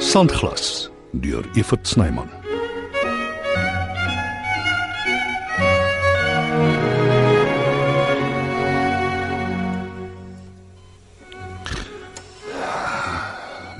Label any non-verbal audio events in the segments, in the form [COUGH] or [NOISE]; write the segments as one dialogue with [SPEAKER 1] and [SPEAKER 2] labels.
[SPEAKER 1] Sandglas deur Evert Snyman.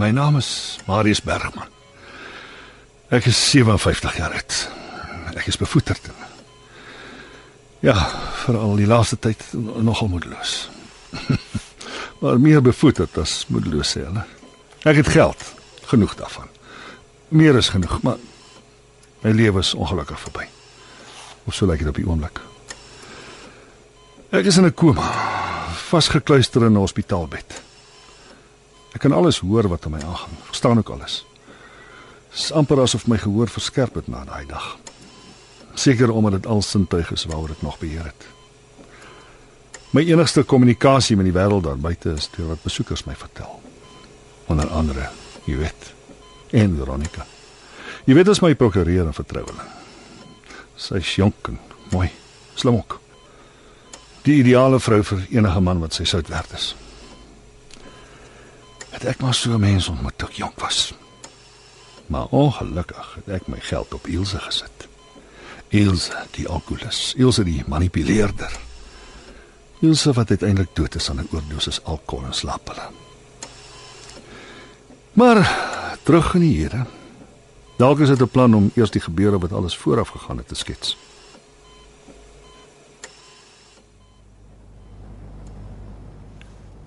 [SPEAKER 1] My naam is Marius Bergman. Ek is 57 jaar oud. Ek is bevoeterd. Ja, veral die laaste tyd nogal moedeloos. maar meer bevoeterd as moedeloos sê hulle. Ek het geld, genoeg daarvan. Meer is genoeg, maar my lewe is ongelukkig verby. Of so lyk dit op die oomblik. Ek is in 'n koma, vasgekluister in 'n hospitaalbed. Ek kan alles hoor wat aan my aangaan. Verstaan ook alles. Dit is amper asof my gehoor verskerp het na daai dag. Seker omdat dit al sintuig is waaroor dit nog beheer het. My enigste kommunikasie met die wêreld daar buite is deur wat besoekers my vertel. Onder andere, jy weet, en Veronica. Jy weet as my prokureur en vertroueling. Sy is jonk en mooi, slim ook. Die ideale vrou vir enige man wat sy sout werd is. Het ek maar so mense ontmoet toe ek jonk was. Maar ongelukkig het ek my geld op Ilse gesit. Ilse die alkoholus, Ilse die manipuleerder. Ilse wat uiteindelik dood is aan 'n oordosis alkohol en slaappille. Maar terug in die Here. Dalk is dit 'n plan om eers die gebeure wat alles vooraf gegaan het te skets.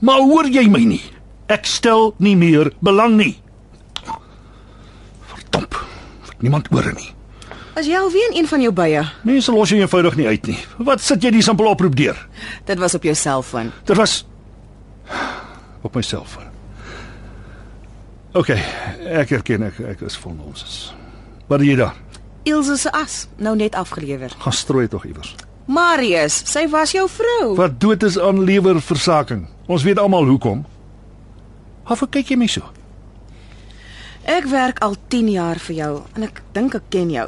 [SPEAKER 2] Maar hoor jy my nie? Ek stel nie meer belang nie.
[SPEAKER 1] Verdomp. Niemand hoor nie.
[SPEAKER 3] As jy alweer in een van jou bye.
[SPEAKER 2] Mense los jou eenvoudig nie uit nie. Wat sit jy die simpel oproep deur?
[SPEAKER 3] Dit was op jou selfoon.
[SPEAKER 2] Dit was
[SPEAKER 1] op my selfoon. OK, ek erken ek ek is vol nonsens. Wat doen jy daar?
[SPEAKER 3] Ilse se as, nou net afgelewer.
[SPEAKER 1] Gaan strooi tog iewers.
[SPEAKER 3] Marius, sy was jou vrou.
[SPEAKER 1] Wat dood is aan lewerversaking. Ons weet almal hoekom. Hoekom kyk jy my so?
[SPEAKER 3] Ek werk al 10 jaar vir jou en ek dink ek ken jou.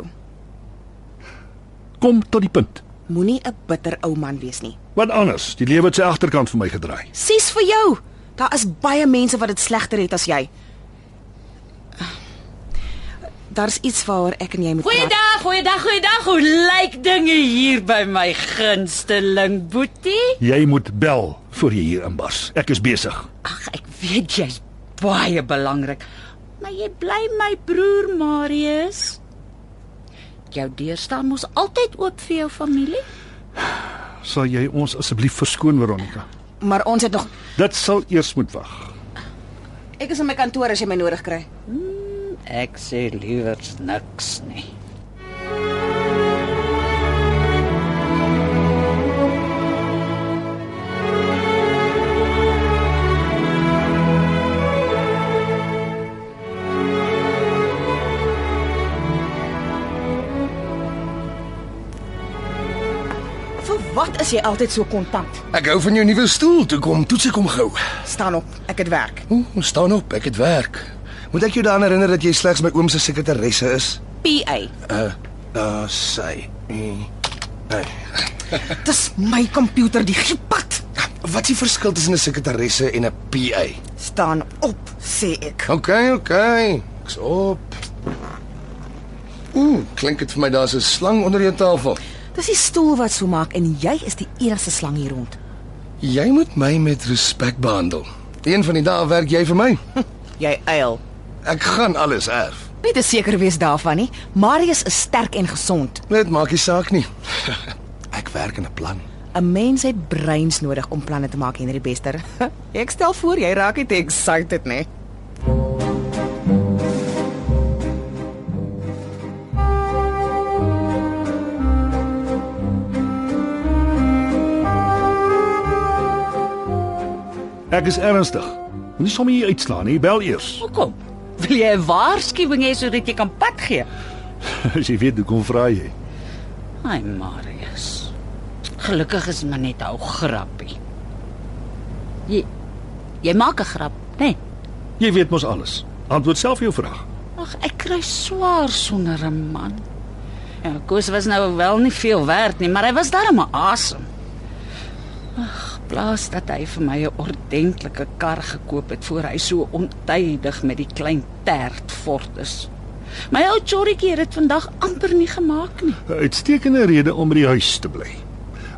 [SPEAKER 1] Kom tot die punt.
[SPEAKER 3] Moenie 'n bitter ou man wees nie.
[SPEAKER 1] Wat anders? Die lewe het sy agterkant vir my gedraai.
[SPEAKER 3] Sies vir jou. Daar is baie mense wat dit slegter het as jy. Daar's iets waaroor ek en jy moet praat.
[SPEAKER 4] Goeiedag, goeiedag, goeiedag. Hoe lyk dinge hier by my gunsteling boetie?
[SPEAKER 1] Jy moet bel voor jy hier inbars. Ek is besig.
[SPEAKER 4] Ag, ek weet jy's baie belangrik. Maar jy bly my broer Marius. Jou deur staan mos altyd oop vir jou familie.
[SPEAKER 1] Sal jy ons asseblief verskoon, Veronica?
[SPEAKER 3] Maar ons het nog
[SPEAKER 1] Dit sal eers moet wag.
[SPEAKER 3] Ek is in my kantoor as jy my nodig kry.
[SPEAKER 4] Ek sê liewers niks nie.
[SPEAKER 3] Vir wat is jy altyd so kontant?
[SPEAKER 5] Ek hou van jou nuwe stoel. Toe kom, toets ek hom gou.
[SPEAKER 3] Staan op, ek het werk.
[SPEAKER 5] O, staan op, ek het werk. Moet ek jou daaraan herinner dat jy slegs my oom se sekretaresse is?
[SPEAKER 3] PA.
[SPEAKER 5] Uh, uh sy. Mm. Hey.
[SPEAKER 3] Dis my komputer die gepad.
[SPEAKER 5] Ja, Wat is die verskil tussen 'n sekretaresse en 'n PA?
[SPEAKER 3] Staan op, sê ek.
[SPEAKER 5] OK, OK. Ek's op. Ooh, klink dit vir my daar's 'n slang onder jou tafel.
[SPEAKER 3] Dis die stoel wat so maak en jy is die enigste slang hier rond.
[SPEAKER 5] Jy moet my met respek behandel. Een van die dae werk jy vir my.
[SPEAKER 3] Jy uil.
[SPEAKER 5] Ek gaan alles erf.
[SPEAKER 3] Net te seker wees daarvan nie. Marius is sterk en gesond.
[SPEAKER 5] Dit maak nie saak nie. [LAUGHS] ek werk aan 'n plan.
[SPEAKER 3] 'n Mens het breins nodig om planne te maak, Henry Bester. [LAUGHS] ek stel voor jy raak net excited, né? Nee.
[SPEAKER 1] Ek is ernstig. Moenie sommer hier uitslaan nie. Bel eers. [LAUGHS]
[SPEAKER 4] Hoekom? Wil jy 'n waarskuwing hê sodat jy kan pad gee?
[SPEAKER 1] As jy weet hoe kom vra jy.
[SPEAKER 4] Ai Marius. Gelukkig is maar net 'n ou grappie. Jy jy maak 'n grap, né? Nee.
[SPEAKER 1] Jy weet mos alles. Antwoord self jou vraag.
[SPEAKER 4] Ag, ek kry swaar sonder 'n man. Ja, Koos was nou wel nie veel werd nie, maar hy was darem asem. Ag, plaas dat hy vir my 'n ordentlike kar gekoop het voor hy so ontydig met die klein tert fort is. My ou chorretjie het dit vandag amper nie gemaak nie.
[SPEAKER 1] 'n Uitstekende rede om by die huis te bly.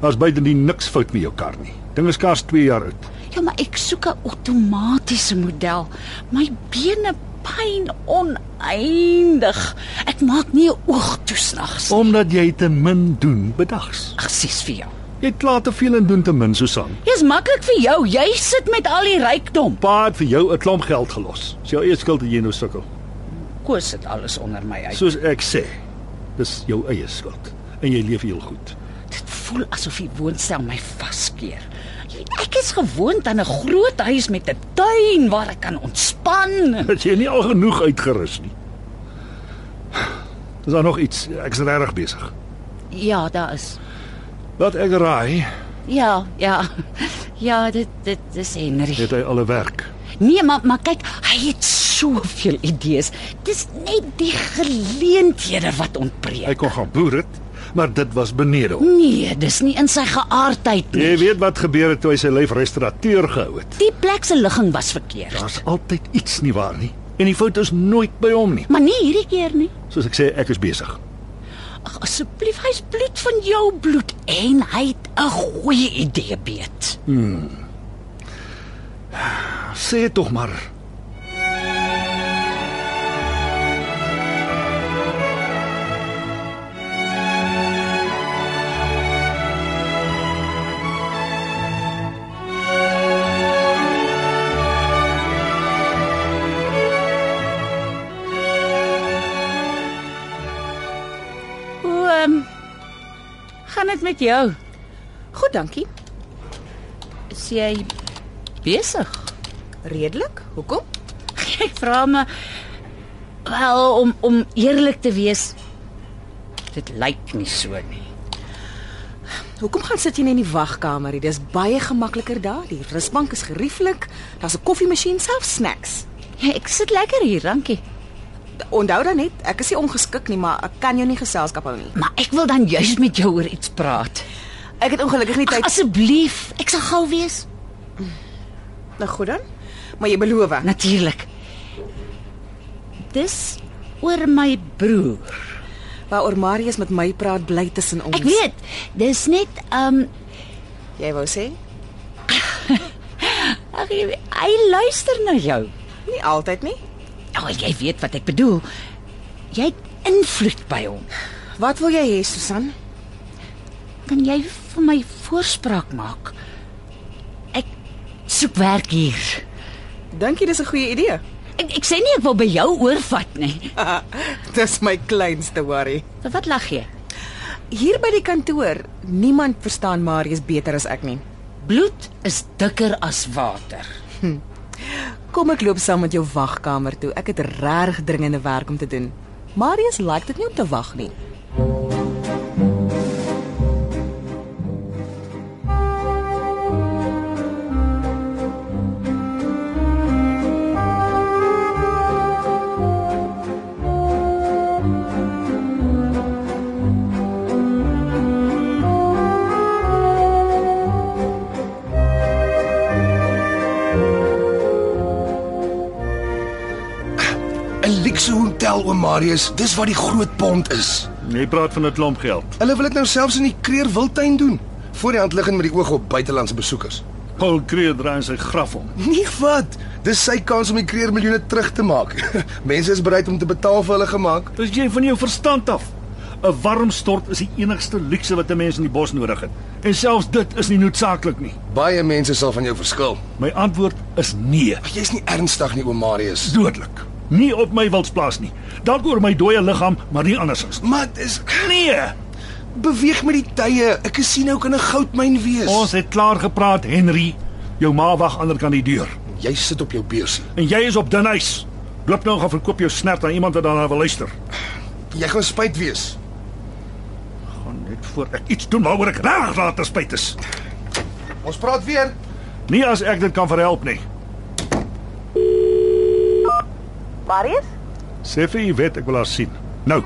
[SPEAKER 1] Daar's buitendien niks fout met jou kar nie. Ding is kaars 2 jaar oud.
[SPEAKER 4] Ja, maar ek soek 'n outomatiese model. My bene pyn oneindig. Ek maak nie 'n oog toesnags.
[SPEAKER 1] Omdat jy te min doen bedags.
[SPEAKER 4] Ag, sies vir jou.
[SPEAKER 1] Jy het klaar te veel en doen te min, Susan.
[SPEAKER 4] Dis maklik vir jou. Jy sit met al die rykdom.
[SPEAKER 1] Pa het vir jou 'n klomp geld gelos. Dis jou eie skuld dat jy nou sukkel.
[SPEAKER 4] Koos dit alles onder my uit. So,
[SPEAKER 1] Soos ek sê, dis jou eie skuld en jy leef heel goed.
[SPEAKER 4] dit voel asof die woonstel my vaskeer. Jy weet, Ek is gewoond aan 'n groot huis met 'n tuin waar ek kan ontspan.
[SPEAKER 1] As jy nie al genoeg uitgerus nie. Is daar nog iets? Ek's regtig besig.
[SPEAKER 4] Ja, daar is.
[SPEAKER 1] Laat ek raai,
[SPEAKER 4] Ja, ja. Ja, dit dit dis Henry.
[SPEAKER 1] het hy al 'n werk.
[SPEAKER 4] Nee, maar maar kyk, hy het soveel idees. Dis net die geleenthede wat
[SPEAKER 1] Hy
[SPEAKER 4] ontbreek.
[SPEAKER 1] kon gaan boer het, maar dit was benede hom.
[SPEAKER 4] Nee, dis nie in sy geaardheid
[SPEAKER 1] Jy
[SPEAKER 4] nie.
[SPEAKER 1] weet wat gebeur het toe hy sy lyf restaurateur gehou het.
[SPEAKER 4] Die plek se ligging was verkeerd.
[SPEAKER 1] Daar's altyd iets nie waar nie. En die fout is nooit by hom nie.
[SPEAKER 4] Maar nie hierdie keer nie.
[SPEAKER 1] Soos ek sê, ek is besig.
[SPEAKER 4] Ag asseblief, hy's bloed van jou bloed en hy het 'n goeie idee beet.
[SPEAKER 1] Nou Sê tog maar,
[SPEAKER 4] Hoe ehm um, gaan dit met jou?
[SPEAKER 3] Goed, dankie.
[SPEAKER 4] Is jy besig? [LAUGHS]
[SPEAKER 3] Redelik? Hoekom?
[SPEAKER 4] Ek vra me wel om om eerlik te wees. Dit lyk nie so nie.
[SPEAKER 3] Hoekom gaan sit jy nie in die wagkamer nie? Dis baie gemakliker daar. Die rusbank is gerieflik. Daar's 'n koffiemasjien self snacks.
[SPEAKER 4] Ja, Ek sit lekker hier, dankie.
[SPEAKER 3] Onthou dan net, ek is nie ongeskik nie, maar ek kan jou nie geselskap hou nie.
[SPEAKER 4] Maar ek wil dan juis met jou oor iets praat.
[SPEAKER 3] Ek het ongelukkig nie
[SPEAKER 4] Ag,
[SPEAKER 3] tyd.
[SPEAKER 4] Asseblief, ek sal gou wees.
[SPEAKER 3] Nou goed dan. Maar jy beloof.
[SPEAKER 4] Natuurlik. Dis oor my broer.
[SPEAKER 3] Waaroor Marius met my praat bly tussen ons.
[SPEAKER 4] Ek weet, dis net ehm um,
[SPEAKER 3] Jy wou sê?
[SPEAKER 4] ag jy weet, hy luister na jou.
[SPEAKER 3] Nie altyd nie.
[SPEAKER 4] Ja, oh, jy weet wat ek bedoel. Jy het invloed by hom.
[SPEAKER 3] Wat wil jy hê, Susan?
[SPEAKER 4] Kan jy vir my voorspraak maak? Ek soek werk hier.
[SPEAKER 3] Dink jy dis 'n goeie idee?
[SPEAKER 4] Ek ek sê nie ek wil by jou oorvat nie.
[SPEAKER 3] [LAUGHS] dis my kleinste worry.
[SPEAKER 4] Wat lag jy?
[SPEAKER 3] Hier by die kantoor, niemand verstaan Marius beter as ek nie.
[SPEAKER 4] Bloed is dikker as water.
[SPEAKER 3] Kom ek loop saam met jou wagkamer toe. Ek het reg dringende werk om te doen. Marius like dit nie om te wag nie.
[SPEAKER 5] In Luxe Hotel oom Marius, dis waar die groot pond is.
[SPEAKER 1] jy praat van 'n klomp geld.
[SPEAKER 5] Hulle wil dit nou selfs in die Kreer Wildtuin doen. Voor die hand liggend met die oog op buitelandse besoekers. [LAUGHS]
[SPEAKER 1] Paul Kreer draai in sy graf om.
[SPEAKER 5] Nie wat. Dis sy kans om die Kreer miljoene terug te maak. [LAUGHS] Mense is bereid om te betaal vir hulle gemaak.
[SPEAKER 1] Dis jy van jou verstand af. 'n Warm stort is die enigste luukse wat 'n mens in die bos nodig het. En selfs dit is nie noodsaaklik nie.
[SPEAKER 5] Baie mense sal van jou verskil.
[SPEAKER 1] My antwoord is nee,
[SPEAKER 5] Jy's nie ernstig nie, oom Marius.
[SPEAKER 1] dodelik. Nie op my wilsplaas nie. Dalk oor my dooie liggaam, maar nie andersins nie.
[SPEAKER 5] Maar dis
[SPEAKER 1] Nee,
[SPEAKER 5] beweeg met die tye. 'n Casino nou kan 'n goudmyn wees.
[SPEAKER 1] ons het klaar gepraat, Henry. Jou ma wag aan die ander kant die deur
[SPEAKER 5] Jy sit op jou beursie.
[SPEAKER 1] en jy is op dun ys. Loop nou en gaan verkoop jou snert aan iemand wat daarna wil luister.
[SPEAKER 5] Jy gaan spyt wees.
[SPEAKER 1] Gaan net voor ek iets doen waaroor ek reg laat te spyt is.
[SPEAKER 5] Ons praat weer.
[SPEAKER 1] Nie as ek dit kan verhelp nie.
[SPEAKER 3] Marius?
[SPEAKER 1] Sê vir Iwet ek wil haar sien. Nou.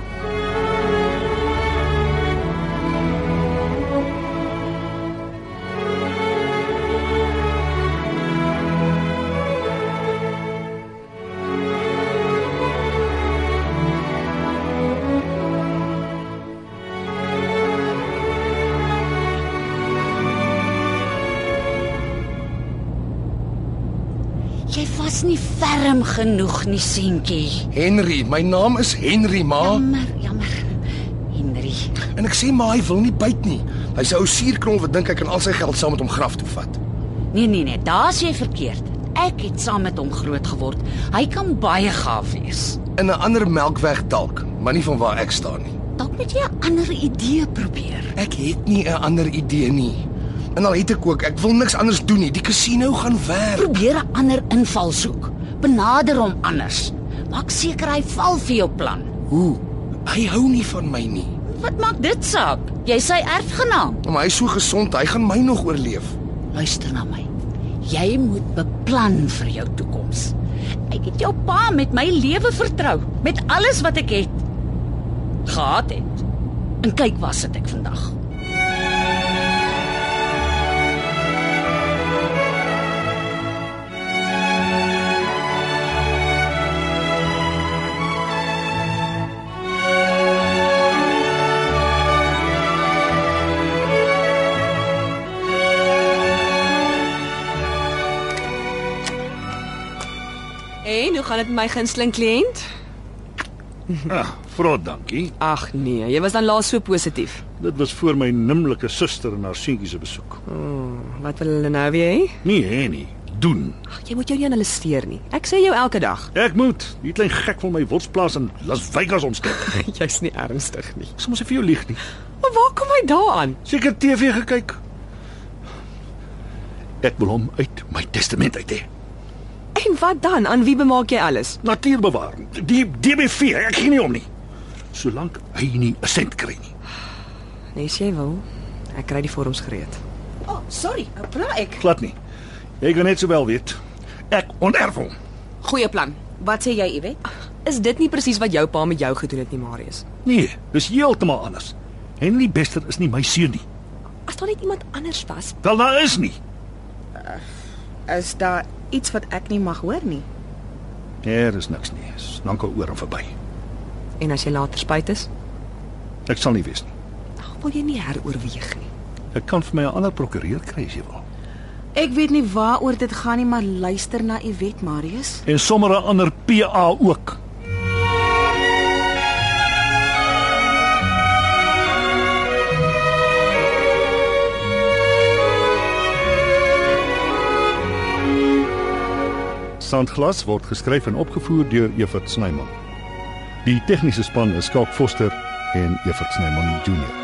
[SPEAKER 4] is nie ferm genoeg nie, seentjie.
[SPEAKER 5] Henry, my naam is Henry, ma.
[SPEAKER 4] Jammer, jammer. Oh. Henry.
[SPEAKER 5] En ek sê maar hy wil nie byt nie. Hy's 'n ou suurkron wat dink hy kan al sy geld saam met hom graf toe vat.
[SPEAKER 4] Nee, nee, nee, daar's jy verkeerd. Ek het saam met hom groot geword. Hy kan baie gaaf wees.
[SPEAKER 5] In 'n ander melkweg dalk, maar nie van waar ek staan nie.
[SPEAKER 4] Dalk moet jy 'n ander idee probeer.
[SPEAKER 5] Ek het nie 'n ander idee nie. En al het ek ook, ek wil niks anders doen nie. Die casino gaan werk.
[SPEAKER 4] Probeer 'n ander invalshoek. Benader hom anders. Maak seker hy val vir jou plan.
[SPEAKER 5] Hoe? Hy hou nie van my nie.
[SPEAKER 4] Wat maak dit saak? Jy's sy erfgenaam.
[SPEAKER 5] Maar hy's so gesond, hy gaan my nog oorleef.
[SPEAKER 4] Luister na my. Jy moet beplan vir jou toekoms. Ek het jou pa met my lewe vertrou, met alles wat ek het gehad het. En kyk waar sit ek vandag.
[SPEAKER 3] En hoe gaan dit met my gunsteling kliënt?
[SPEAKER 1] Ah, vrot, dankie.
[SPEAKER 3] Ag nee, jy was dan laas so positief.
[SPEAKER 1] Dit was voor my nimmerlike suster en haar seentjie se besoek.
[SPEAKER 3] Wat wil hulle nou weer hê?
[SPEAKER 1] Nee, hè nie. Doen.
[SPEAKER 3] Ag, jy moet jou nie aan hulle steur nie. Ek sê jou elke dag,
[SPEAKER 1] Ek moet. Die klein gek wil my worsplaas in Las Vegas omskep. [LAUGHS]
[SPEAKER 3] jy's nie ernstig nie.
[SPEAKER 1] Soms ek vir jou lieg nie.
[SPEAKER 3] Maar waar kom hy daaraan?
[SPEAKER 1] Seker TV gekyk. Ek wil hom uit my testament uit hê.
[SPEAKER 3] En wat dan? Aan wie bemaak jy alles?
[SPEAKER 1] Natuurbewaring. Die DBV, ek gee nie om nie. Solank hy nie 'n sent kry nie.
[SPEAKER 3] Nes Nee, jy wil. Ek kry die vorms gereed.
[SPEAKER 4] O, oh, sorry, nou praat ek.
[SPEAKER 1] Glad nie. Jy kan net sowel weet. Ek onerf hom.
[SPEAKER 6] Goeie plan.
[SPEAKER 4] Wat sê jy, Iwet?
[SPEAKER 3] Is dit nie presies wat jou pa met jou gedoen het nie, Marius?
[SPEAKER 1] Nee, dis heeltemal anders. Henry Bester is nie my seun nie.
[SPEAKER 3] As daar net iemand anders was.
[SPEAKER 1] Wel daar is nie.
[SPEAKER 6] Is daar iets wat ek nie mag hoor nie?
[SPEAKER 1] Daar is niks nie. Dis lankal oor en verby.
[SPEAKER 3] En as jy later spyt is,
[SPEAKER 1] Ek sal nie weet nie.
[SPEAKER 3] dan wil jy nie heroorweeg nie.
[SPEAKER 1] Ek kan vir my 'n ander prokureur kry as jy wil.
[SPEAKER 6] Ek weet nie waaroor dit gaan nie, maar luister na Iwet Marius.
[SPEAKER 1] En sommer 'n ander PA ook. Sandglas word geskryf en opgevoer deur Evert Snyman. Die tegniese span is Skalk Foster en Evert Snyman Junior.